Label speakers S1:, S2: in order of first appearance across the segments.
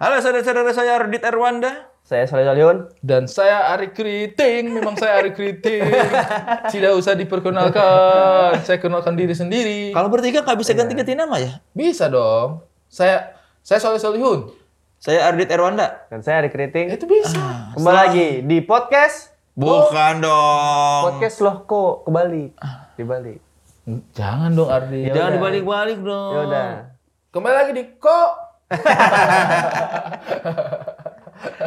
S1: Halo saudara-saudara saya Ardit Erwanda.
S2: Saya Soleh Solihun.
S3: Dan saya Ari Kriting, memang saya Ari Kriting. Tidak usah diperkenalkan, saya kenalkan diri sendiri.
S1: Kalau bertiga nggak bisa ganti-ganti nama ya?
S3: Bisa dong. Saya saya Soleh Solihun.
S1: Saya Ardit Erwanda.
S2: Dan saya Ari Kriting.
S3: Itu
S1: Ah.
S3: bisa.
S2: Kembali lagi di podcast.
S1: Bukan dong.
S2: Podcast loh kok kebalik. Dibalik.
S3: Jangan dong Ardi.
S1: Jangan dibalik-balik dong.
S2: Ya udah.
S3: Kembali lagi di kok.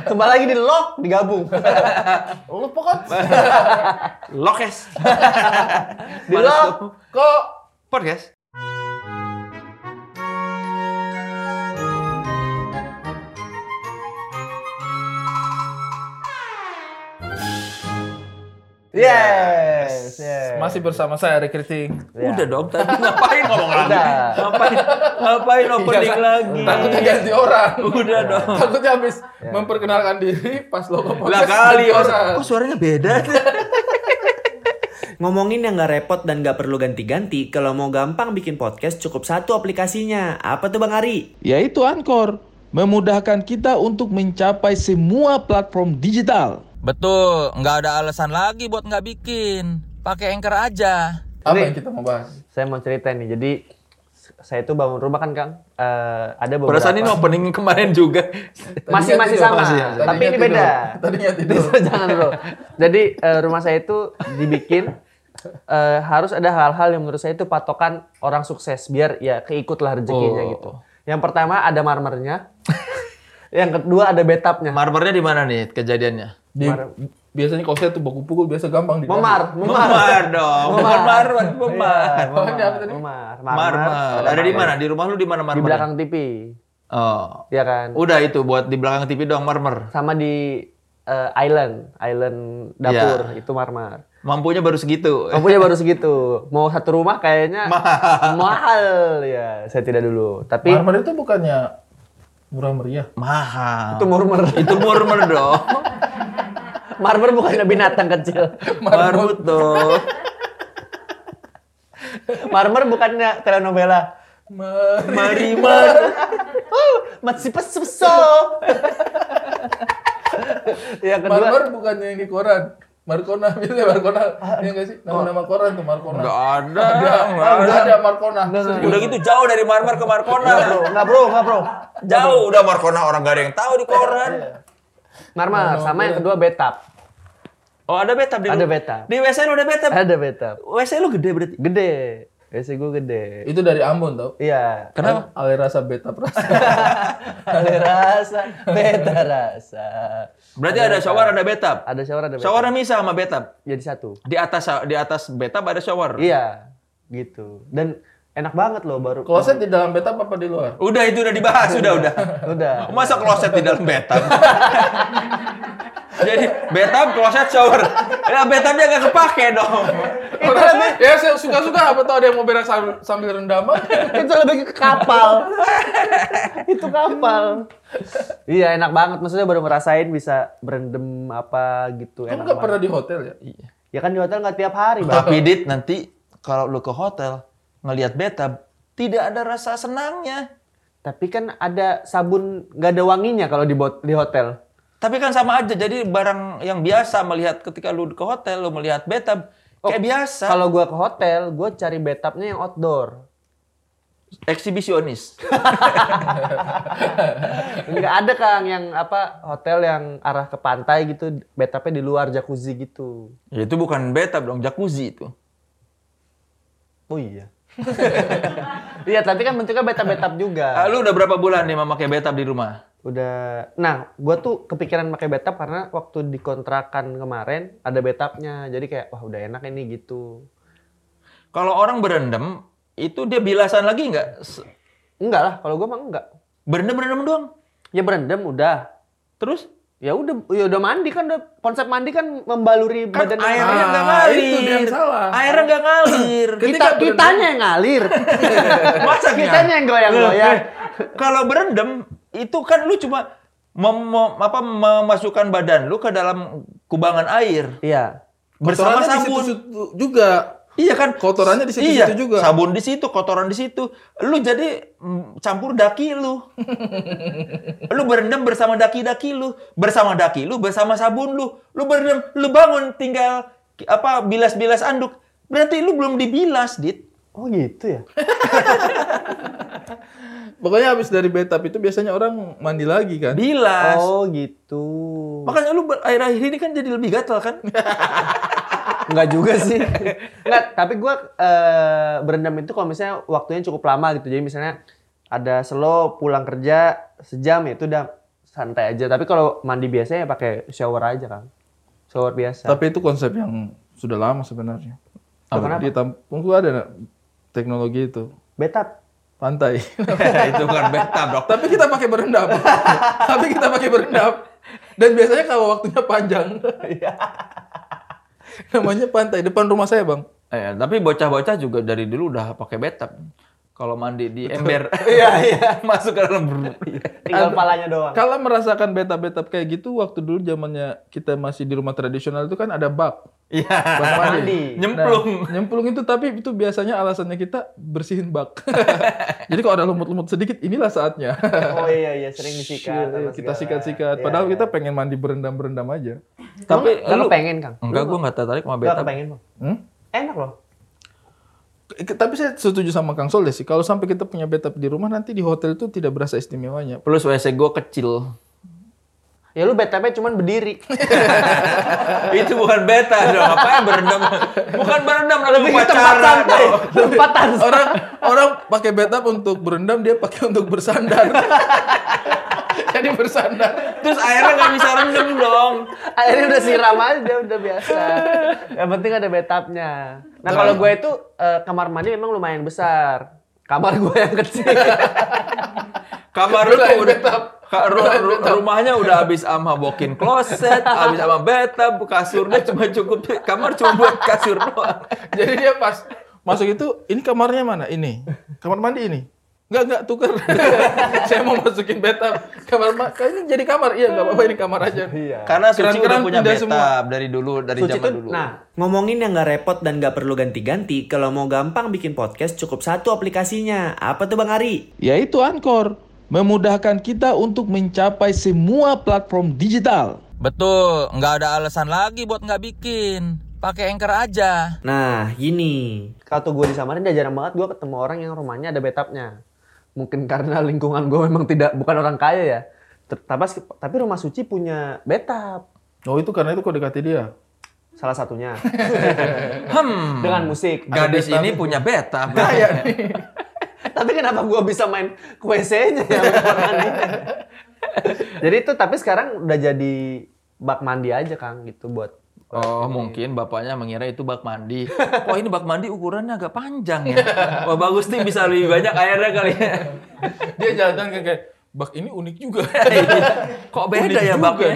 S2: Kembali lagi di loh digabung.
S3: Lu pokok.
S1: Lokes.
S2: Di loh.
S3: Kok.
S1: Podcast.
S2: Yes. yes.
S3: Masih bersama saya Ari Kriting.
S2: Ya.
S1: Udah dong tadi ngapain ngomong lagi?
S2: Udah.
S1: Ngapain ngapain opening lagi?
S3: Takutnya ganti orang.
S1: Hmm. Udah dong. Ya.
S3: Takutnya habis memperkenalkan diri pas lo ke
S1: Lah
S3: podcast,
S1: kali
S3: ganti
S1: orang. Kok suaranya beda?
S4: Ngomongin yang gak repot dan gak perlu ganti-ganti, kalau mau gampang bikin podcast cukup satu aplikasinya. Apa tuh Bang Ari?
S3: yaitu Anchor, memudahkan kita untuk mencapai semua platform digital.
S5: Betul, nggak ada alasan lagi buat nggak bikin. Pakai anchor aja.
S3: Apa yang kita mau bahas?
S2: Saya mau cerita nih. Jadi saya itu bangun rumah kan Kang. Eh, ada beberapa.
S1: Perasaan ini opening kemarin juga.
S2: masih masih
S3: tidur,
S2: sama.
S3: masih ya.
S2: Tapi
S3: Tadinya
S2: ini
S3: tidur.
S2: beda.
S3: Tadinya tidur.
S2: Jangan bro. Jadi eh, rumah saya itu dibikin eh, harus ada hal-hal yang menurut saya itu patokan orang sukses biar ya keikutlah rezekinya
S3: Oh.
S2: gitu. Yang pertama ada marmernya. yang kedua ada betapnya.
S1: Marmernya di mana nih kejadiannya?
S3: Di, biasanya kalau saya tuh baku pukul biasa gampang di
S2: Memar, memar.
S1: Memar dong. Bukan marmer, memar.
S2: Iya, memar,
S3: Apaan ya, apa tadi?
S2: memar,
S1: Marmer. Ada di mana? Di rumah lu di mana
S2: Di
S1: marmer?
S2: belakang TV,
S1: Oh.
S2: ya kan?
S1: Udah itu buat di belakang TV doang marmer.
S2: Sama di eh, island, island dapur itu marmar.
S1: Mampunya baru segitu.
S2: Mampunya baru segitu. Mau satu rumah kayaknya
S1: Mahal.
S2: mahal. ya. Saya tidak dulu. Tapi
S3: Marmer itu bukannya murah meriah.
S1: Mahal.
S2: itu murmur.
S1: Itu murmer dong.
S2: Marmer bukan binatang kecil.
S1: Marmut dong.
S2: Marmer bukannya telenovela.
S1: Marimer.
S2: Uh, masih pesuso. yang kedua,
S3: Marmer bukannya yang di koran. Markona biasanya Markona.
S2: Ah,
S3: Iya nggak sih? Nama-nama koran tuh Markona.
S1: Enggak ada.
S3: Ada,
S1: nggak ada.
S3: ada, ada Markona. Serius.
S1: Udah gitu jauh dari marmer ke Markona.
S2: Nggak, bro, nggak bro, nggak bro.
S1: Jauh udah Markona orang gak ada yang tahu di koran.
S2: Marmer, sama yang kedua betap.
S1: Oh, ada betap di
S2: Ada
S1: lu-
S2: betap.
S1: Di WC lu ada betap.
S2: Ada betap.
S1: WC lu gede berarti.
S2: Gede. WC gue gede.
S3: Itu dari Ambon tau.
S2: Iya.
S3: Kenapa? Alir rasa beta perasa.
S2: Ada rasa, beta rasa.
S1: Berarti ada shower ada betap.
S2: Ada shower, ada betap.
S1: Shower bisa sama betap.
S2: Jadi satu.
S1: Di atas di atas betap ada shower.
S2: Iya, gitu. Dan enak banget loh baru.
S3: Kloset di dalam beta apa di luar?
S1: Udah itu udah dibahas, udah udah.
S2: Udah.
S1: Masa kloset di dalam bathtub? Jadi bathtub, kloset, shower. Ya bathtubnya gak kepake dong.
S3: Orang- ya saya suka-suka apa tau ada yang mau berak sambil, sambil rendaman.
S2: itu lebih ke kapal. itu kapal. iya, enak banget. Maksudnya baru merasain bisa berendam apa gitu.
S3: Kamu
S2: Enak
S3: nggak
S2: banget.
S3: pernah di hotel ya? Iya.
S2: Ya kan di hotel nggak tiap hari, Bang.
S1: Tapi Dit, nanti kalau lu ke hotel ngelihat bathtub, tidak ada rasa senangnya.
S2: Tapi kan ada sabun nggak ada wanginya kalau di, bot- di hotel.
S1: Tapi kan sama aja, jadi barang yang biasa melihat ketika lu ke hotel, lu melihat bathtub, kayak biasa.
S2: Kalau gua ke hotel, gua cari bathtubnya yang outdoor.
S1: Eksibisionis.
S2: Nggak ada Kang yang apa hotel yang arah ke pantai gitu, bathtubnya di luar jacuzzi gitu.
S1: Ya, itu bukan bathtub dong, jacuzzi itu.
S2: Oh iya. Iya, tapi kan bentuknya betap-betap juga.
S1: Ah, lu udah berapa bulan nih memakai bathtub di rumah?
S2: Udah. Nah, gua tuh kepikiran pakai betap karena waktu dikontrakan kemarin ada betapnya. Jadi kayak wah udah enak ini gitu.
S1: Kalau orang berendam, itu dia bilasan lagi nggak? Se-
S2: Enggak lah, kalau gua mah enggak.
S1: Berendam berendam doang.
S2: Ya berendam udah.
S1: Terus
S2: Ya udah ya udah mandi kan udah konsep mandi kan membaluri
S1: kan
S2: badan
S1: airnya
S3: Ah,
S1: nggak ngalir.
S3: itu dia yang salah.
S1: Airnya nggak ngalir.
S2: kita
S3: ketika berendam-
S2: kitanya yang ngalir.
S1: Masa gitu?
S2: kitanya yang
S3: ya.
S2: goyang-goyang.
S1: Eh, Kalau berendam itu kan lu cuma mem- mem- apa memasukkan badan lu ke dalam kubangan air
S2: Iya.
S1: bersama
S3: Kotorannya di
S1: sabun.
S3: situ-situ juga.
S1: Iya kan?
S3: Kotorannya di situ-situ
S1: Iya,
S3: juga.
S1: Sabun di situ, kotoran di situ. Lu jadi mm, campur daki lu. lu berendam bersama daki-daki lu, bersama daki lu, bersama sabun lu. Lu berendam, lu bangun tinggal apa bilas-bilas anduk. Berarti lu belum dibilas, Dit.
S2: Oh gitu ya?
S3: Pokoknya habis dari bathtub itu biasanya orang mandi lagi kan.
S1: Bilas.
S2: Oh gitu.
S1: Makanya lu ber- akhir-akhir ini kan jadi lebih gatal kan?
S2: Enggak juga sih. Enggak, tapi gua eh, berendam itu kalau misalnya waktunya cukup lama gitu. Jadi misalnya ada slow pulang kerja sejam ya itu udah santai aja. Tapi kalau mandi biasanya ya pakai shower aja kan. Shower biasa.
S3: Tapi itu konsep yang sudah lama sebenarnya.
S2: Apa,
S3: Kalau
S2: kenapa?
S3: Di tampung gua ada teknologi itu.
S2: Betap.
S3: Pantai.
S1: itu bukan bathtub, Dok.
S3: Tapi kita pakai berendam. Tapi kita pakai berendam. Dan biasanya kalau waktunya panjang. Namanya pantai depan rumah saya, Bang.
S1: Eh, tapi bocah-bocah juga dari dulu udah pakai bathtub. Kalau mandi di ember, iya iya masuk ke dalam. Brr.
S2: Tinggal palanya doang.
S3: Kalau merasakan beta-beta kayak gitu waktu dulu zamannya kita masih di rumah tradisional itu kan ada bak.
S1: Iya.
S3: Bak mandi.
S2: Mandi.
S1: Nyemplung.
S3: Nah, nyemplung itu tapi itu biasanya alasannya kita bersihin bak. Jadi kalau ada lumut-lumut sedikit inilah saatnya.
S2: Oh iya iya sering disikat. sama
S3: kita
S2: segala.
S3: sikat-sikat.
S2: Iya,
S3: Padahal
S2: iya.
S3: kita pengen mandi berendam-berendam aja.
S1: Tapi
S2: Emang lu pengen, Kang?
S1: Enggak, gue nggak tertarik sama
S2: Gak
S1: bathtub.
S2: kepengen, Bang.
S3: Hmm?
S2: Enak loh.
S3: Ke- Tapi saya setuju sama Kang Soleh sih. Kalau sampai kita punya bathtub di rumah nanti di hotel itu tidak berasa istimewanya.
S1: Plus WC gue kecil.
S2: Ya lu betapnya cuman berdiri.
S1: itu bukan beta dong. Ngapain berendam? Bukan berendam, lebih
S2: Tempat
S1: pacaran.
S2: santai. Tempat santai.
S3: Orang orang pakai bathtub untuk berendam, dia pakai untuk bersandar. Jadi bersandar.
S1: Terus airnya nggak bisa rendam dong.
S2: Akhirnya udah siram aja udah biasa. Yang penting ada betapnya. Nah kalau gue itu eh, kamar mandi memang lumayan besar. Kamar gue yang kecil.
S1: Kamar lu tuh
S3: Selain
S1: udah
S3: bathtub.
S1: Ka- ru- ru- rumahnya udah habis sama bokin kloset, habis sama bathtub, kasurnya cuma cukup kamar cuma buat kasur doang.
S3: Jadi dia pas masuk itu, ini kamarnya mana? Ini. Kamar mandi ini. Enggak, enggak, tukar. Saya mau masukin bathtub. Kamar ma- kayaknya jadi kamar. Iya, enggak apa-apa ini kamar aja.
S1: Karena Suci udah
S3: Keran-keran
S1: punya
S3: pindah
S1: bathtub
S3: semua.
S1: dari dulu, dari
S2: Suci
S1: zaman
S2: tuh,
S1: dulu.
S2: nah
S4: Ngomongin yang gak repot dan gak perlu ganti-ganti, kalau mau gampang bikin podcast cukup satu aplikasinya. Apa tuh Bang Ari?
S3: Yaitu Anchor. Memudahkan kita untuk mencapai semua platform digital.
S5: Betul, nggak ada alasan lagi buat nggak bikin. Pakai Anchor aja.
S4: Nah, gini.
S2: kalau gue di Samarinda jarang banget gue ketemu orang yang rumahnya ada betapnya. Mungkin karena lingkungan gue memang tidak bukan orang kaya ya. Ter- Tapi, tapi rumah suci punya betap
S3: Oh, itu karena itu kode kata dia.
S2: salah satunya
S1: Hmm.
S2: dengan musik.
S1: Gadis ini punya beta.
S2: Iya. tapi kenapa gua bisa main ke WC-nya ya? bukan mandi? jadi itu tapi sekarang udah jadi bak mandi aja Kang gitu buat
S1: Oh, mungkin bapaknya mengira itu bak mandi. Wah, ini bak mandi ukurannya agak panjang ya. Wah, bagus nih bisa lebih banyak airnya kali ya.
S3: Dia jalan kayak, kayak bak ini unik juga.
S1: Iya. Kok beda ya baknya?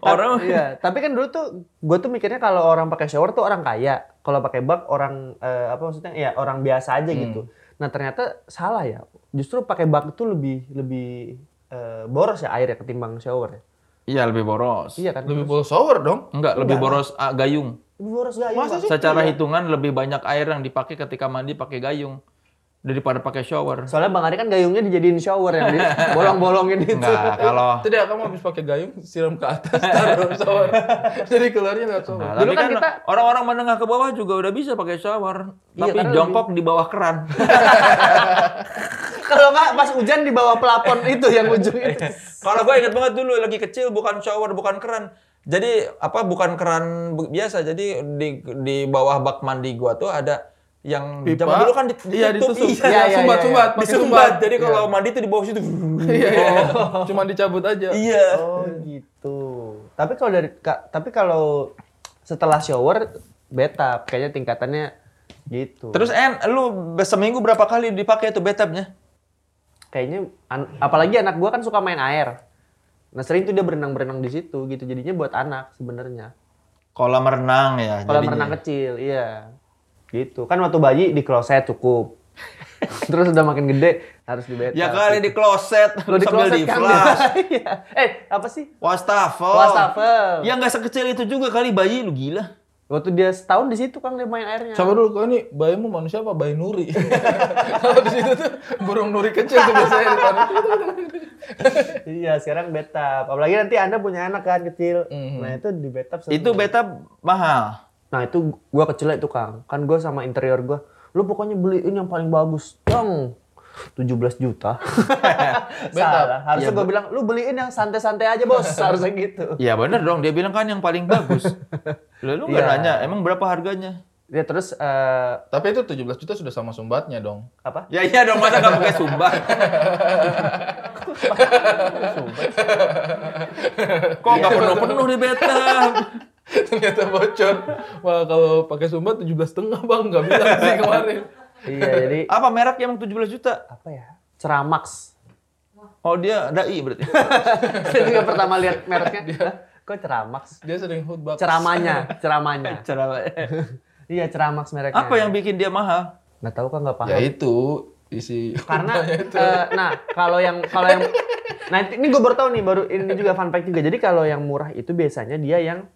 S1: Orang
S2: iya tapi kan dulu tuh gue tuh mikirnya kalau orang pakai shower tuh orang kaya kalau pakai bak orang eh, apa maksudnya ya orang biasa aja gitu nah ternyata salah ya justru pakai bak itu lebih lebih eh, boros ya air ya ketimbang shower ya
S1: Iya, lebih boros.
S2: iya kan
S3: Lebih bolos shower dong.
S1: Enggak,
S2: Iya.
S1: lebih boros ah, gayung.
S2: lebih boros gak Iya,
S3: Masa sih?
S1: Secara hitungan lebih banyak air yang dipakai ketika mandi pakai gayung daripada pakai shower.
S2: soalnya bang Ari kan gayungnya dijadiin shower yang di bolong-bolongin itu
S1: Enggak, kalau
S3: Ah. Tidak, kamu habis pakai gayung, siram ke atas, taruh shower. Jadi keluarnya lewat shower.
S1: Nah, tapi
S2: Dulu kan
S1: kan
S2: kita-
S1: orang-orang menengah ke bawah juga udah bisa pakai shower,
S2: Iya,
S1: tapi
S2: karena
S1: jongkok di bawah keran.
S2: Kalau nggak pas hujan di bawah pelapon itu yang ujung itu.
S1: Kalau gue inget banget dulu lagi kecil bukan shower bukan keran. Jadi apa bukan keran bu- biasa. Jadi di di bawah bak mandi gua tuh ada yang
S3: Pipa.
S1: zaman dulu kan ditutup.
S3: Iya, ditutup.
S1: Iya,
S3: Iya,
S2: iya,
S3: sumbat,
S2: iya.
S3: sumbat, pakai
S1: Disumbat.
S3: sumbat.
S1: Jadi kalau mandi tuh di bawah situ.
S3: Iya, iya. Cuma dicabut aja.
S1: iya.
S2: Oh gitu. Tapi kalau dari ka- tapi kalau setelah shower betap kayaknya tingkatannya gitu.
S1: Terus En, lu seminggu berapa kali dipakai tuh bathtubnya?
S2: kayaknya an- apalagi anak gua kan suka main air. Nah sering tuh dia berenang-berenang di situ gitu jadinya buat anak sebenarnya.
S1: Kolam renang ya.
S2: Kolam renang kecil, iya. Gitu. Kan waktu bayi di kloset cukup. Terus udah makin gede harus di betap.
S1: Ya kali di kloset
S2: Lo di
S1: sambil
S2: kloset
S1: di
S2: kan?
S1: flash.
S2: Iya. eh, apa sih?
S1: Wastafel.
S2: Wastafel.
S1: Ya nggak sekecil itu juga kali bayi lu gila.
S2: Waktu dia setahun di situ Kang dia main airnya.
S3: Coba dulu kau ini bayimu manusia apa bayi nuri? Kalau di situ tuh burung nuri kecil tuh biasanya di depan.
S2: iya, sekarang betap. Apalagi nanti Anda punya anak kan kecil.
S3: Mhm.
S2: Nah, itu di betap. seru.
S3: Iya.
S1: Itu beta mahal.
S2: Nah, itu gua kecil itu Kang. Kan gua sama interior gua. Lu pokoknya beliin yang paling bagus. Dong. 17 juta. Salah. Harusnya gua bilang, lu beliin yang santai-santai aja, Bos. Harusnya gitu.
S1: Ya bener dong, dia bilang kan yang paling bagus. Lalu nggak
S2: Iya.
S1: nanya, emang berapa harganya?
S2: Ya terus eh,
S3: Tapi itu 17 juta sudah sama sumbatnya dong.
S2: apa?
S1: Ya iya dong, masa nggak pakai sumbat? Kok nggak penuh-penuh di beta?
S3: Ternyata bocor. Wah kalau pakai sumbat 17 setengah bang nggak bilang sih kemarin.
S2: Iya, jadi
S1: Apa merek yang 17 juta?
S2: apa ya? Ceramax.
S1: Oh dia dai berarti.
S2: Saya juga pertama lihat mereknya. "Hah, Kok Ceramax?
S3: Dia sering khutbah.
S2: Ceramanya, ceramanya. Iya, Ceramax mereknya.
S1: Apa yang bikin dia mahal?
S2: Nggak tahu kan nggak paham.
S3: Ya itu Ya isi.
S2: Karena eh, nah, kalau yang kalau yang nah ini gue baru tahu nih baru ini juga fun fact juga. Jadi kalau yang murah itu biasanya dia yang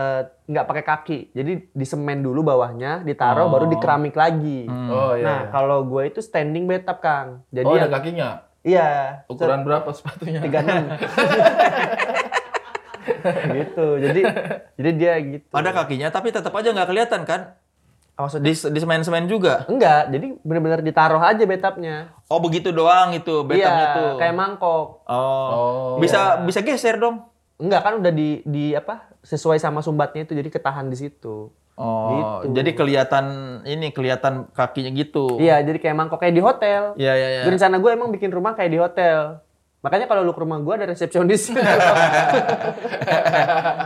S2: eh, nggak pakai kaki. Jadi disemen dulu bawahnya, ditaruh baru dikeramik lagi.
S1: Hmm.
S3: Oh iya.
S2: Nah, kalau gue itu standing bathtub, Kang. Jadi
S3: oh ada
S2: yang-
S3: kakinya.
S2: iya,
S3: Ukuran berapa sepatunya?
S2: 36. gitu. Jadi jadi dia gitu.
S1: Ada kakinya, tapi tetap aja nggak kelihatan kan? Di, di semen-semen juga.
S2: Enggak, jadi benar-benar ditaruh aja bathtubnya.
S1: Oh begitu doang itu betanya
S2: iya,
S1: tuh.
S2: kayak mangkok.
S1: Oh.
S3: Oh.
S1: Bisa bisa geser dong.
S2: Enggak kan udah di di apa? Sesuai sama sumbatnya itu jadi ketahan di situ.
S1: Oh, jadi kelihatan ini kelihatan kakinya gitu.
S2: Iya, jadi kayak mangkok kayak di hotel.
S1: Iya, iya, iya.
S2: Jadi Rencana gue emang bikin rumah kayak di hotel. Makanya kalau lu ke rumah gue ada resepsionis.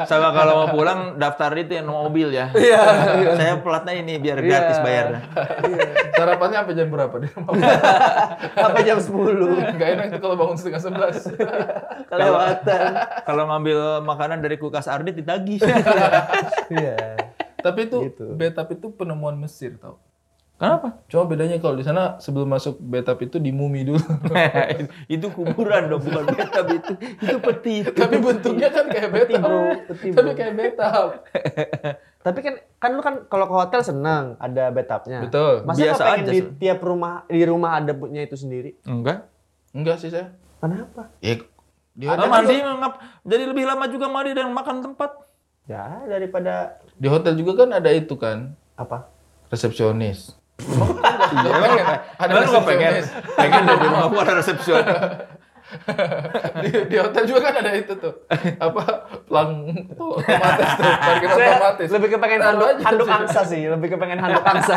S1: Sama kalau mau pulang daftar itu yang mobil ya.
S2: Iya.
S1: Saya pelatnya ini biar gratis
S2: Iya.
S1: bayarnya.
S3: Sarapannya sampai jam berapa di rumah?
S2: Apa jam 10?
S3: Gak enak tuh kalau bangun setengah sebelas.
S2: Kelewatan.
S1: Kalau ngambil makanan dari kulkas Ardit ditagih.
S2: Iya.
S3: Tapi itu
S2: Gitu.
S3: betap itu penemuan Mesir tau.
S1: Kenapa?
S3: Cuma bedanya kalau di sana sebelum masuk betap itu di mumi dulu.
S1: itu kuburan dong, bukan betap itu. Itu peti. itu.
S3: Tapi bentuknya kan kayak betap.
S2: bro, peti,
S3: Tapi
S2: bro.
S3: kayak betap.
S2: Tapi kan kan lu kan kalau ke hotel senang ada bathtubnya.
S3: Betul.
S2: Masa
S1: Biasa
S2: Biasa pengen
S1: aja,
S2: di
S1: Sun.
S2: tiap rumah di rumah ada punya itu sendiri?
S1: Enggak.
S3: Enggak sih saya.
S2: Kenapa?
S3: Ya, di,
S1: Ada Oh,
S3: hotel
S1: mandi
S3: juga,
S1: ngap- jadi lebih lama juga mandi dan makan tempat.
S2: Ya daripada
S3: di hotel juga kan ada itu kan
S2: apa?
S3: resepsionis. Iya, pengen. Ada
S1: Emang lu nggak pengen?
S3: resepsionis.
S1: Pengen dari rumah gua ada resepsionis.
S3: di, di hotel juga kan ada itu tuh. Apa pelang tuh otomatis tuh, parkir otomatis.
S2: Lebih ke pengen
S3: Taruh
S2: handuk,
S3: aja
S2: handuk
S3: sih.
S2: angsa sih, lebih ke pengen handuk angsa.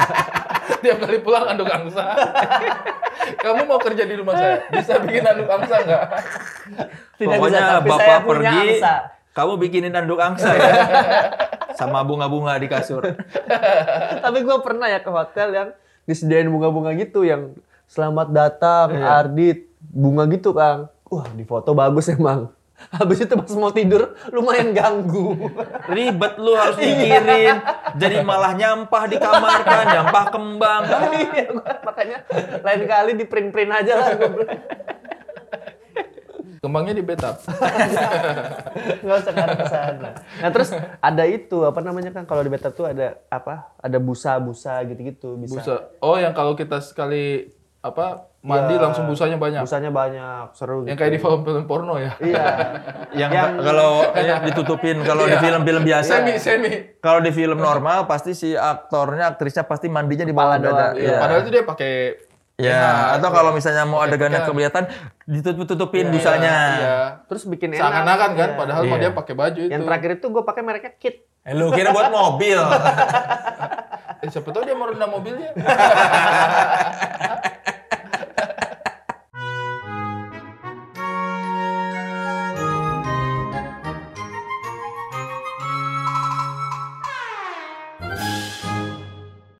S3: Tiap kali pulang anduk angsa. Kamu mau kerja di rumah saya? Bisa bikin anduk angsa nggak?
S2: Tidak
S1: Pokoknya
S2: bisa, tapi
S1: bapak
S2: saya punya
S1: pergi,
S2: angsa.
S1: kamu bikinin anduk angsa ya. Sama bunga-bunga di kasur.
S2: tapi gue pernah ya ke hotel yang disediain bunga-bunga gitu yang selamat datang
S1: Iya.
S2: Ardit bunga gitu Kang. Wah di foto bagus emang. Habis itu pas mau tidur lumayan ganggu.
S1: Ribet lu harus
S2: Iya.
S1: mikirin. Jadi malah nyampah di kamar kan, nyampah kembang.
S2: Iya, gua- makanya lain kali di print-print aja lah. gua bilang.
S3: Kembangnya di betap.
S2: Nggak usah ke sana. Nah terus ada itu apa namanya kan kalau di beta tuh ada apa? Ada busa-busa gitu-gitu bisa.
S3: Busa. Oh, yang kalau kita sekali apa mandi
S2: Ya,
S3: langsung busanya banyak.
S2: Busanya banyak, seru gitu.
S3: Yang kayak di film-film porno ya.
S2: Iya.
S1: Yang, kalau ditutupin kalau di film-film
S2: Iya.
S1: biasa.
S3: Semi, semi.
S1: Kalau di film normal pasti si aktornya, aktrisnya pasti mandinya di bawah
S2: Kepala
S1: dada.
S2: doang, iya.
S1: Iya.
S3: Padahal itu dia pakai
S1: Ya, atau kalau misalnya mau adegannya
S3: pegang.
S1: kelihatan ditutup-tutupin busanya.
S3: Iya.
S2: terus bikin enak.
S3: Seakan-akan kan, Gitu.
S2: Iya.
S3: padahal mah dia pakai baju itu.
S2: Yang terakhir itu gue pakai mereknya Kit.
S1: Eh, Lu kira buat mobil.
S3: Eh, siapa tahu dia mau rendam mobilnya.